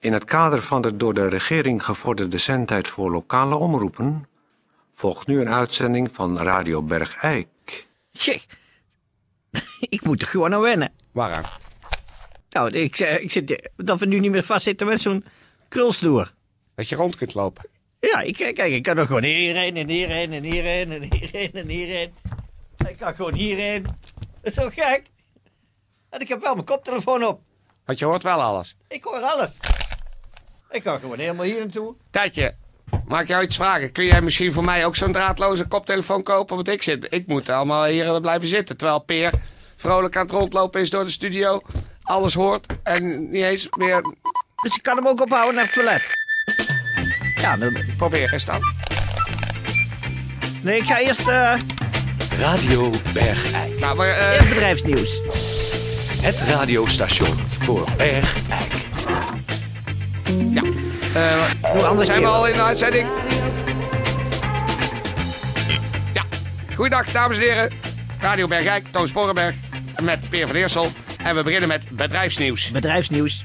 In het kader van de door de regering gevorderde zendtijd voor lokale omroepen volgt nu een uitzending van Radio Bergijk. Tje. Ik moet er gewoon aan wennen. Waaraan? Nou, ik, zeg- ik zit, dat we nu niet meer vastzitten met zo'n krulstoer. Dat je rond kunt lopen. Ja, ik, kijk, ik kan er gewoon hierheen en hierheen en hierheen en hierheen en hierheen. Ik kan gewoon hierheen. Dat is zo gek. En ik heb wel mijn koptelefoon op. Want je hoort wel alles. Ik hoor alles. Ik kan gewoon helemaal hier naartoe. Tijdje, mag ik jou iets vragen? Kun jij misschien voor mij ook zo'n draadloze koptelefoon kopen? Want ik, zit, ik moet allemaal hier eh, blijven zitten. Terwijl Peer vrolijk aan het rondlopen is door de studio. Alles hoort en niet eens meer... Dus ik kan hem ook ophouden naar het toilet. Ja, dan, Probeer eens dan. nee, ik ga eerst, eh Radio Bergijk. Nou, maar, eh, eerst bedrijfsnieuws. Het radiostation voor Bergijk. ja. Eh, Hoe anders zijn we keer. al in de uitzending? Ja. Goeiedag, dames en heren. Radio Bergijk, Toon Sporenberg met Peer van Eersel. En we beginnen met bedrijfsnieuws. Bedrijfsnieuws.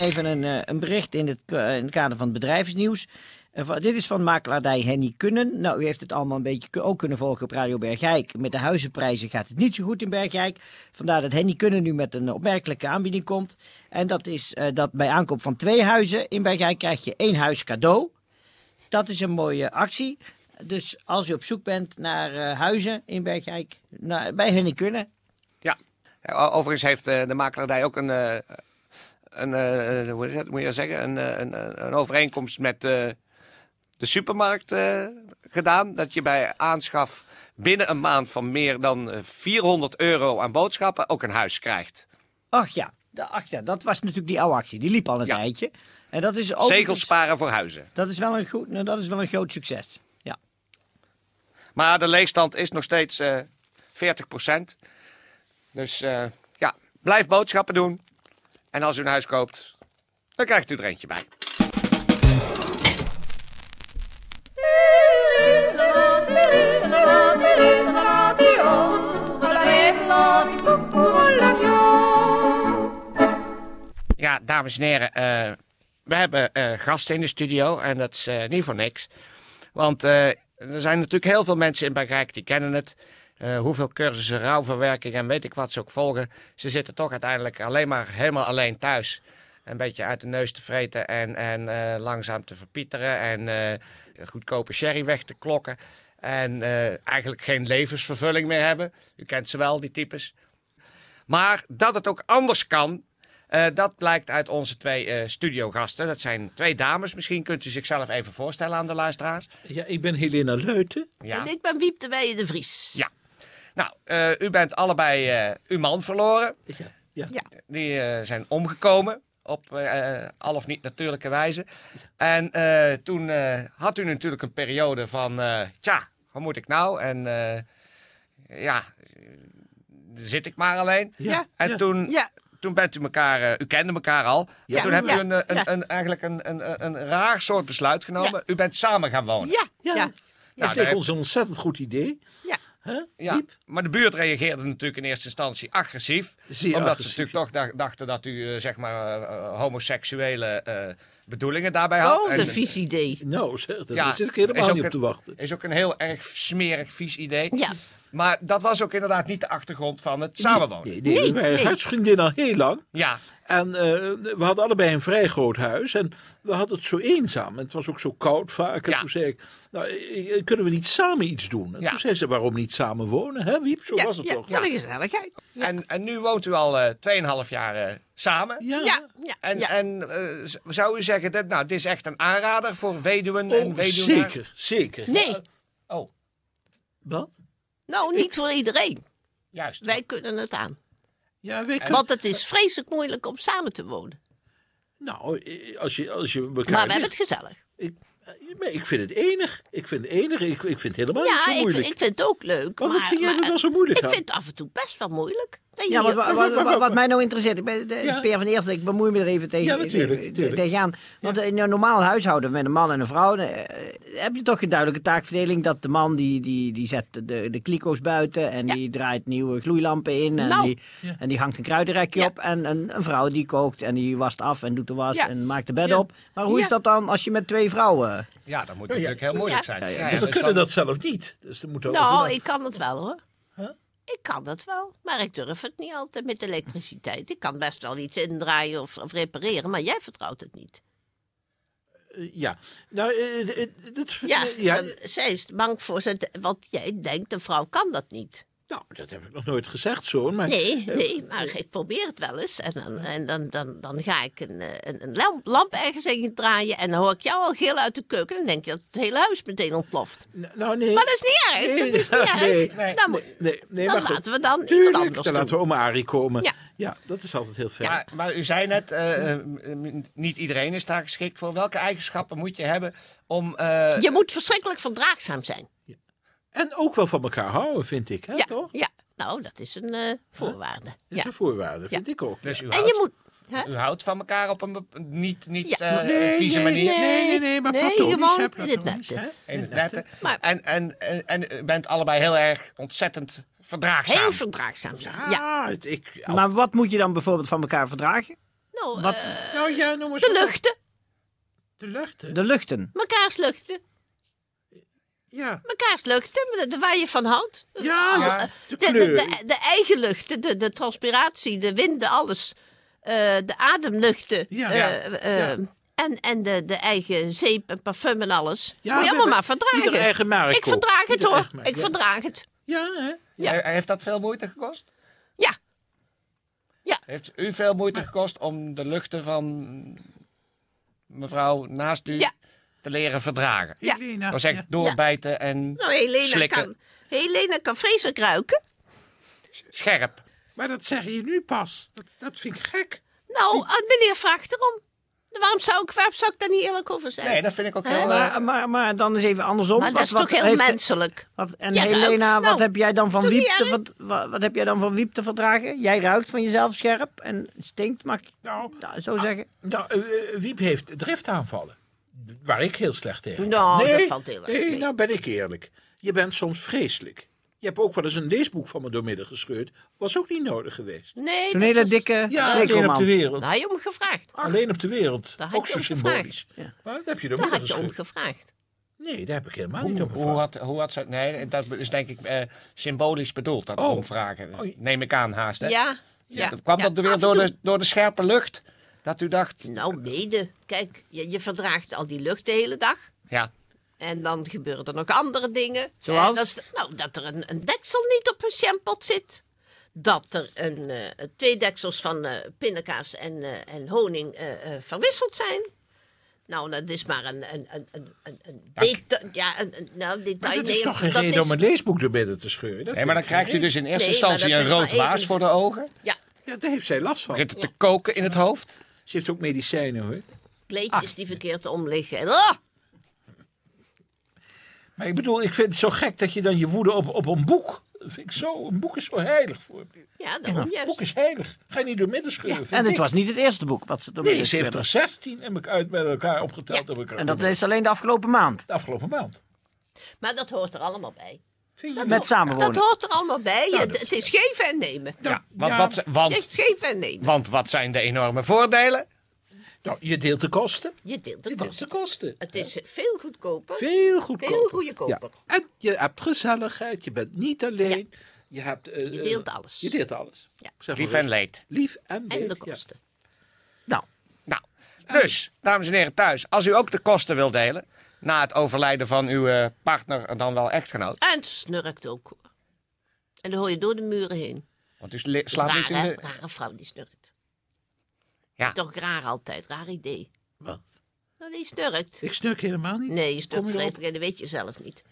Even een, eh, een bericht in het, ka- in het kader van het bedrijfsnieuws. Eh, van- dit is van makelaardij Henny Kunnen. Nou, u heeft het allemaal een beetje ku- ook kunnen volgen op Radio Bergijk. Met de huizenprijzen gaat het niet zo goed in Bergijk. Vandaar dat Henny Kunnen nu met een opmerkelijke aanbieding komt. En dat is eh, dat bij aankoop van twee huizen in Bergijk krijg je één huis cadeau. Dat is een mooie actie. Dus als u op zoek bent naar eh, huizen in Bergijk, nou, bij Henny Kunnen, Ja. Overigens heeft eh, de makelaardij ook een, eh, een eh, hoe is het, moet je dat zeggen, een, eh, een, eh, een overeenkomst met eh, de supermarkt eh, gedaan. Dat je bij aanschaf binnen een maand van meer dan eh, 400 euro aan boodschappen ook een huis krijgt. Oh, Ach ja, da- ach ja, dat was natuurlijk die oude actie. Die liep al een Ja. tijdje. En dat is ook. Zegels sparen voor huizen. Dat is wel een goed, nou, dat is wel een groot succes. Ja. Maar de leegstand is nog steeds eh 40 Dus eh, ja, blijf boodschappen doen. En als u een huis koopt, dan krijgt u er eentje bij. Ja, dames en heren, eh, we hebben eh, gasten in de studio en dat is eh, niet voor niks. Want eh, er zijn natuurlijk heel veel mensen in Bergrijk die kennen het. Eh, hoeveel cursussen rouwverwerking en weet ik wat ze ook volgen. Ze zitten toch uiteindelijk alleen maar helemaal alleen thuis. Een beetje uit de neus te vreten en, en eh, langzaam te verpieteren. En eh, goedkope sherry weg te klokken. En eh, eigenlijk geen levensvervulling meer hebben. U kent ze wel, die types. Maar dat het ook anders kan, eh, dat blijkt uit onze twee eh, studiogasten. Dat zijn twee dames. Misschien kunt u zichzelf even voorstellen aan de luisteraars. Ja, ik ben Helena Luiten. Ja. En ik ben Wiep de Weijen de Vries. Ja. Nou, eh, u bent allebei eh, uw man verloren. Ja, ja. Ja. Die eh, zijn omgekomen op eh, eh, al of niet natuurlijke wijze. En eh, toen eh, had u natuurlijk een periode van, eh, tja, wat moet ik nou? En eh, ja, eh, zit ik maar alleen. Ja. En toen, Ja. toen bent u elkaar, eh, u kende elkaar al. Ja. En toen Ja. hebben u een, eh, een, Ja. een- eigenlijk een, een, een- een raar soort besluit genomen. U bent samen gaan wonen. Ja. Ja. Ja. Nou, dat daar leek heb- ons een ontzettend goed idee. Ja. Hè? Ja, Piep. maar de buurt reageerde natuurlijk in eerste instantie agressief. Zeer omdat agressief, ze natuurlijk toch dag- dachten dat u eh, zeg maar eh, eh, homoseksuele eh, bedoelingen daarbij had. Oh, En de het- vies idee. Nou, zeg, daar Ja, zit ik helemaal is ook niet op een- te wachten. Is ook een heel erg smerig, vies idee. Ja. Maar dat was ook inderdaad niet de achtergrond van het samenwonen. Nee, nee, Nee, we waren nee. huisvriendin al heel lang. Ja, En eh, we hadden allebei een vrij groot huis. En we hadden het zo eenzaam. En het was ook zo koud vaak. En Ja. toen zei ik, nou, eh, eh, kunnen we niet samen iets doen? En Ja. toen zei ze, waarom niet samen wonen? Hè, Wiep, zo ja, was het ja, toch? Wat een gezelligheid. En, en nu woont u al eh 2,5 jaar eh, samen. Ja. Ja. Ja. En, ja. en eh, z- zou u zeggen, dat, nou, dit is echt een aanrader voor weduwen en Oh, weduwen? zeker, zeker. Nee, Oh, Wat? nou niet voor iedereen. juist. Wij kunnen het aan. Ja, wij kunnen- Want het is vreselijk moeilijk om samen te wonen. Nou, eh, als je, als je elkaar Maar we ligt- hebben het gezellig. Ik, Nee, ik vind het enig. Ik vind het enig. Ik, ik vind het helemaal niet Ja, zo ik, moeilijk. ik vind het ook leuk. Maar Maar, wat vind jij er maar, dan zo moeilijk Ik aan? vind het af en toe best wel moeilijk. Dat je Ja, wat, hier- wat, wat, wat- wat mij nou interesseert, ik ben, de, Ja. Peer van Eersel, ik bemoei me er even tegen, Ja, natuurlijk, eh, natuurlijk. tegenaan. Want in een normaal huishouden met een man en een vrouw, eh, heb je toch een duidelijke taakverdeling dat de man die, die, die zet de, de kliko's buiten en Ja. die draait nieuwe gloeilampen in en, Nou. die, en die hangt een kruidenrekje Ja. op en een, een vrouw die kookt en die wast af en doet de was Ja. en maakt de bed Ja. op. Maar hoe Ja. is dat dan als je met twee vrouwen... Ja, dat moet natuurlijk heel moeilijk zijn. Ja, ja, Dus we dus kunnen dan- dat zelf niet. Dus dan moeten we over Nou, na- ik kan het wel hoor. Ik kan dat wel, maar ik durf het niet altijd met elektriciteit. Ik kan best wel iets indraaien of, of repareren, maar jij vertrouwt het niet. Eh, Ja. Nou, eh, eh, dat... Ja, ja. dan- zij is bang voor zijn, want jij denkt, een vrouw kan dat niet. Nou, dat heb ik nog nooit gezegd zo. Maar... Nee, nee, maar ik probeer het wel eens. En dan, en dan, dan, dan ga ik een, eh, een, een lamp, lamp ergens in draaien en dan hoor ik jou al gillen uit de keuken. Dan denk je dat het hele huis meteen ontploft. Nou, nee. Maar dat is niet erg, Nee, dat is niet erg. nee, dan moet- Nee, nee, dan maar goed. laten we dan Tuurlijk, iemand anders dan doen. laten we oma Arie komen. Ja. dat is altijd heel fijn. Maar, maar u zei net, eh, eh, m- niet iedereen is daar geschikt voor. Welke eigenschappen moet je hebben om... eh, Je moet verschrikkelijk verdraagzaam zijn. En ook wel van elkaar houden, vind ik. Hè, ja, toch? ja, nou, dat is een eh, voorwaarde. Dat is Ja. een voorwaarde, vind ik ook. Dus u En je houdt, moet. Hè? u houdt van elkaar op een bep- niet, niet Ja. eh, vieze manier. Nee, nee, nee, maar Nee, platonisch, gewoon hè, in het platonisch, nette. hè. In het nette. Maar- En, en, en, en u bent allebei heel erg ontzettend verdraagzaam. Heel verdraagzaam zijn. Ja. Ja, het- ik... oh, Maar wat moet je dan bijvoorbeeld van elkaar verdragen? Nou, Wat- eh, Nou ja, noem eens de wat op. luchten. De lucht, hè. De luchten. Mekaars luchten. Ja. Mekaars luchten. de- de- Waar je van houdt. Ja, ja, de De, de, de, kleur. de eigen luchten. De, de transpiratie. De winden. Alles. Eh, de ademluchten. Ja. eh, Ja. eh, En, en de, de eigen zeep en parfum en alles. we Moet je allemaal hebben maar verdragen. ieder eigen merk ik ook. verdraag het Ieder hoor. eigen merk, Ik ja. verdraag het. Ja, hè. Ja. He- Heeft dat veel moeite gekost? Ja. Heeft u veel moeite gekost om de luchten van mevrouw naast u Ja. te leren verdragen? Ja. Elena, Dat is echt ja. doorbijten en Nou, Helena Slikken. kan, Helena kan vreselijk ruiken. scherp. Maar dat zeg je nu pas. Dat, dat vind ik gek. Nou, ah, meneer vraagt erom. Waarom zou ik, waarom zou ik daar niet eerlijk over zijn? Nee, dat vind ik ook Hè? heel... eh, Maar, maar, maar dan is even andersom. maar dat Wat- is wat toch heel heeft het- menselijk. Wat, en Ja, ruikt. Helena, wat, Nou, heb jij dan van doe wiep niet te erg. verd- wa- wat heb jij dan van wiep te verdragen? Jij ruikt van jezelf scherp en stinkt, mag ik Nou, da- zo Ah, zeggen. nou eh, eh, Wiep heeft driftaanvallen. Waar ik heel slecht tegen kan. Nou, dat valt heel erg Nee, mee. nou ben ik eerlijk. Je bent soms vreselijk. Je hebt ook wel eens een leesboek van me doormidden gescheurd. Was ook niet nodig geweest. Nee, Een dat hele is- dikke Ja, alleen op de streekroman. wereld. Daar had je om gevraagd. alleen op de wereld. Daar had Ook je zo om gevraagd. symbolisch. Ja. Maar dat heb je Daar doormidden had je om gescheurd. gevraagd. Nee, daar heb ik helemaal niet op Hoe, hoe gevraagd. had, hoe had ze... Nee, dat is denk ik eh, symbolisch bedoeld, dat Oh. omvragen. Oh, ja. Neem ik aan haast, hè? Ja. ja. Dat kwam ja, dat er weer af en door toe. de, door de scherpe lucht? Dat u dacht... Nou, mede. Kijk, je, je verdraagt al die lucht de hele dag. Ja, En dan gebeuren er nog andere dingen. Zoals? Eh, dat, is- nou, dat er een, een deksel niet op een sjampot zit. Dat er een, eh, twee deksels van eh pindakaas en, eh, en honing eh, eh, verwisseld zijn. Nou, dat is maar een, een, een, een, een- een deta- Ja, een, een- nou, detail. Maar dat is nee, toch geen dat reden is- om een leesboek doormidden te scheuren? Dat nee, maar dan vind ik geen krijgt u dus in eerste Nee, maar instantie dat een is maar rood even- waas voor de ogen. Ja, reden. Ja, daar heeft zij last van. Begint het te koken in het hoofd. Ze heeft ook medicijnen hoor. kleedjes Ah. die verkeerd om liggen. En, oh, Maar ik bedoel, ik vind het zo gek dat je dan je woede op, op een boek. Dat vind ik zo, een boek is zo heilig voor me. ja, daarom Een juist. boek is heilig. Ga je niet door midden scheuren. En het ik. was niet het eerste boek wat ze door Nee, midden ze heeft er schudden. 16 en ik uit met elkaar opgeteld. Ja. door elkaar. En dat is alleen de afgelopen maand. de afgelopen maand. Maar dat hoort er allemaal bij. Vind je dat? Nou, Dat Met hoort- Dat samenwonen. hoort er allemaal bij. Je- Nou, dat- het is geven en nemen. Ja, ja. want, wat, Je hebt want, geven en nemen. want wat zijn de enorme voordelen? Nou, je deelt de kosten. Je deelt de Je deelt de kosten. kosten. Het is veel goedkoper. Veel goedkoper. Veel goedkoper. Ja. En je hebt gezelligheid. Je bent niet alleen. Je, hebt, eh, Je deelt eh, alles. Je deelt alles. Ja. Zeg maar Lief en eens. leed. Lief en leed. En de ja. kosten. Nou, Nou, dus, dames en heren thuis, als u ook de kosten wilt delen... na het overlijden van uw eh, partner en dan wel echtgenoot... En het snurkt ook. hoor. En dan hoor je door de muren heen. want u sli- Dat slaapt is niet raar, in hè? de... Rare vrouw die snurkt. Ja. Toch raar altijd. Raar idee. Wat? Nou, die snurkt. Ik snurk helemaal niet. Nee, je snurkt Kom erop. vreselijk en dat weet je zelf niet.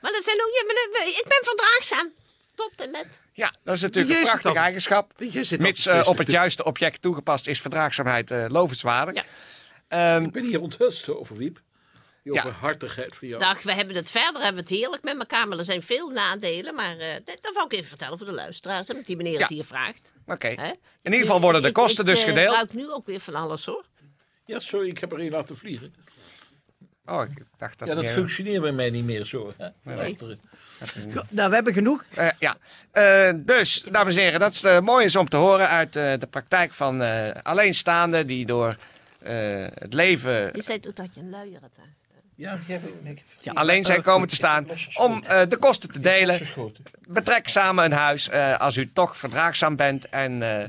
Maar dat zijn ook... Ja, maar dat- ik ben verdraagzaam. Tot en met. Ja, dat is natuurlijk Jij een zit prachtige altijd- eigenschap. Want jij zit dus Mits altijd eh, op het vreselijk. juiste object toegepast is verdraagzaamheid eh lovenswaardig. Ja. Ehm, Ik ben hier onthutst over Wiep. Die Ja. openhartigheid van jou. Dag, we hebben het verder, hebben we het heerlijk met elkaar. Maar er zijn veel nadelen. Maar eh, dat, dat wou ik even vertellen voor de luisteraars. hè, Met die meneer het Ja. hier vraagt. Oké. Hè? In ieder geval worden de Ik- kosten ik, dus eh, gedeeld. ruik nu ook weer van alles hoor. Ja, sorry, ik heb er één laten vliegen. Oh, ik dacht dat... Ja, dat niet- functioneert bij mij niet meer zo. Hè? Achteren. Nou, we hebben genoeg. Eh, ja. Eh, dus, dames en heren, dat is eh, mooi is om te horen uit eh, de praktijk van eh, alleenstaanden die door eh, het leven Je zei toen dat je een luier had. aan. Ja, ik heb ik heb vergeten. alleen zijn komen te staan om eh, de kosten te delen. Geschoten. Betrek samen een huis eh, als u toch verdraagzaam bent en eh,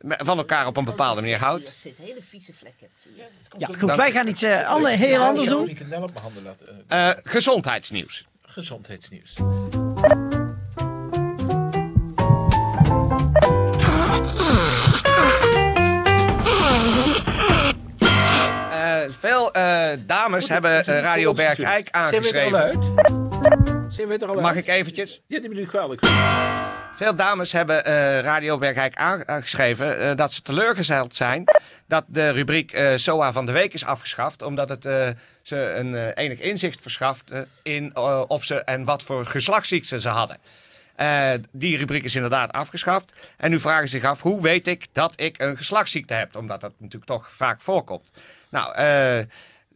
me- van elkaar op een bepaalde manier Hier houdt. zit hele vieze vlekken. Hier. Ja, goed, wij gaan iets eh, alle, heel anders Ik doen. moet knel op mijn handen laten. Eh, Eh, gezondheidsnieuws. Gezondheidsnieuws. Eh, veel eh, dames hebben eh, Radio Bergijk Zijn aangeschreven. wij er al uit? Zijn wij er al uit? Mag ik eventjes? Ja, neem me nu kwalijk. Veel dames hebben eh Radio Bergijk aangeschreven eh, dat ze teleurgesteld zijn dat de rubriek eh SOA van de Week is afgeschaft. Omdat het eh, ze een eh, enig inzicht verschaft eh, in eh, of ze en wat voor geslachtsziekten ze hadden. Eh, die rubriek is inderdaad afgeschaft. En nu vragen ze zich af, hoe weet ik dat ik een geslachtsziekte heb? Omdat dat natuurlijk toch vaak voorkomt. Nou, eh,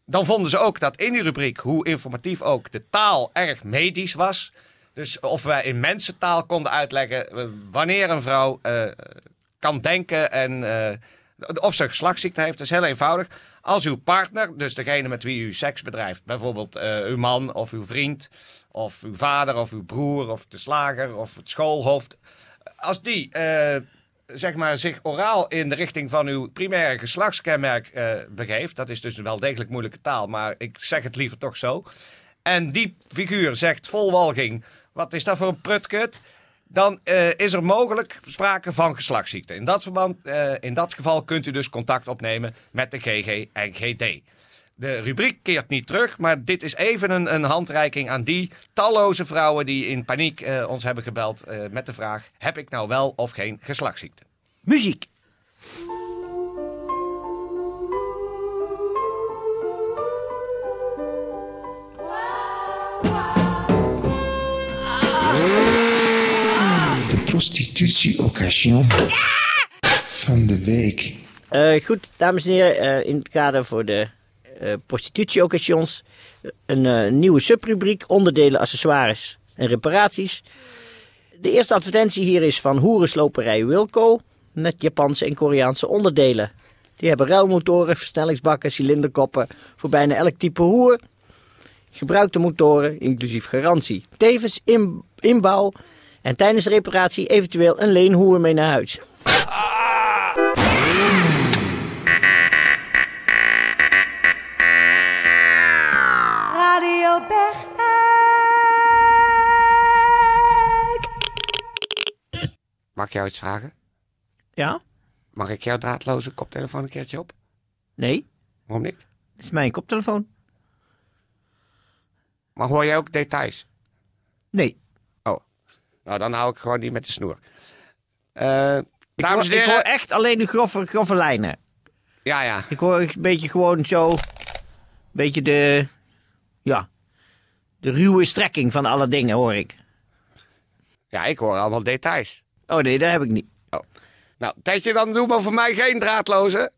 dan vonden ze ook dat in die rubriek, hoe informatief ook, de taal erg medisch was. Dus of wij in mensentaal konden uitleggen eh, wanneer een vrouw eh, kan denken en eh, of ze een geslachtsziekte heeft. Dat is heel eenvoudig. Als uw partner, dus degene met wie u seks bedrijft, bijvoorbeeld eh, uw man of uw vriend, of uw vader of uw broer of de slager of het schoolhoofd, als die eh, zeg maar, zich oraal in de richting van uw primaire geslachtskenmerk eh, begeeft, dat is dus wel degelijk moeilijke taal, maar ik zeg het liever toch zo. En die figuur zegt vol walging: wat is dat voor een prutkut? Dan eh, is er mogelijk sprake van geslachtsziekte. In dat, verband, eh, in dat geval kunt u dus contact opnemen met de GG en GD. De rubriek keert niet terug, maar dit is even een, een handreiking aan die talloze vrouwen die in paniek eh, ons hebben gebeld eh, met de vraag: heb ik nou wel of geen geslachtsziekte? Muziek. de prostitutieoccasion van de week. Eh, goed, dames en heren, eh, in het kader voor de eh prostitutieoccasions een eh, nieuwe subrubriek, onderdelen, accessoires en reparaties. De eerste advertentie hier is van hoerensloperij Wilco met Japanse en Koreaanse onderdelen. Die hebben ruilmotoren, versnellingsbakken, cilinderkoppen voor bijna elk type hoer. Gebruikte motoren, inclusief garantie. Tevens in, inbouw en tijdens de reparatie eventueel een leenhoer mee naar huis. Radio Bergijk. Mag ik jou iets vragen? Ja? Mag ik jouw draadloze koptelefoon een keertje op? Nee? Waarom niet? Dat is mijn koptelefoon. Maar hoor jij ook details? Nee. Nou, dan hou ik gewoon die met de snoer. Eh, dames en ik hoor heren. echt alleen de grove, grove lijnen. Ja, ja. Ik hoor een beetje gewoon zo... Een beetje de... Ja. De ruwe strekking van alle dingen hoor ik. Ja, ik hoor allemaal details. Oh nee, dat heb ik niet. Nou, Tetje, dan doe maar voor mij geen draadloze.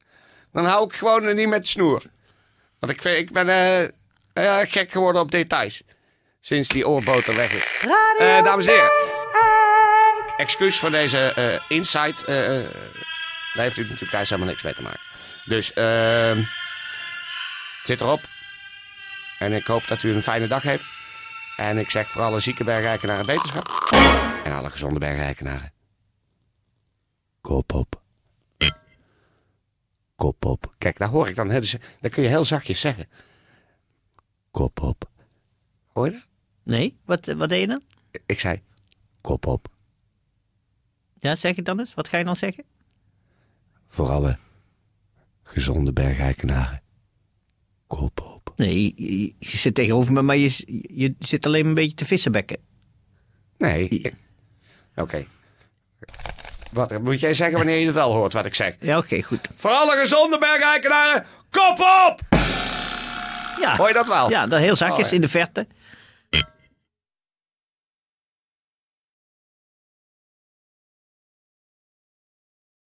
Dan hou ik gewoon er niet met de snoer. Want ik, vind, ik ben eh, ja, gek geworden op details. Sinds die oorboter weg is. Eh, dames en heren. Excuus voor deze eh, insight. eh, eh, daar heeft u natuurlijk thuis helemaal niks mee te maken. Dus, ehm het zit erop. En ik hoop dat u een fijne dag heeft. En ik zeg voor alle zieke bergrijkenaren beterschap. En alle gezonde bergrijkenaren. Kop op. Kop op. Kijk, daar hoor ik dan. hè, Dus, dat kun je heel zachtjes zeggen. Kop op. Hoor je dat? Nee? Wat, eh, wat deed je dan? Ik zei, kop op. Ja, zeg het dan eens. Wat ga je dan zeggen? Voor alle gezonde bergrijkenaren. Kop op. Nee, je, je- je zit tegenover me, maar je, s- je zit alleen een beetje te vissenbekken. Nee. Ja. ik- Oké. Wat moet jij zeggen wanneer je het wel hoort wat ik zeg? Ja, oké, goed. Voor alle gezonde bergrijkenaren, kop op! Ja. Hoor je dat wel? Ja, dan heel zachtjes Oh, ja. in de verte.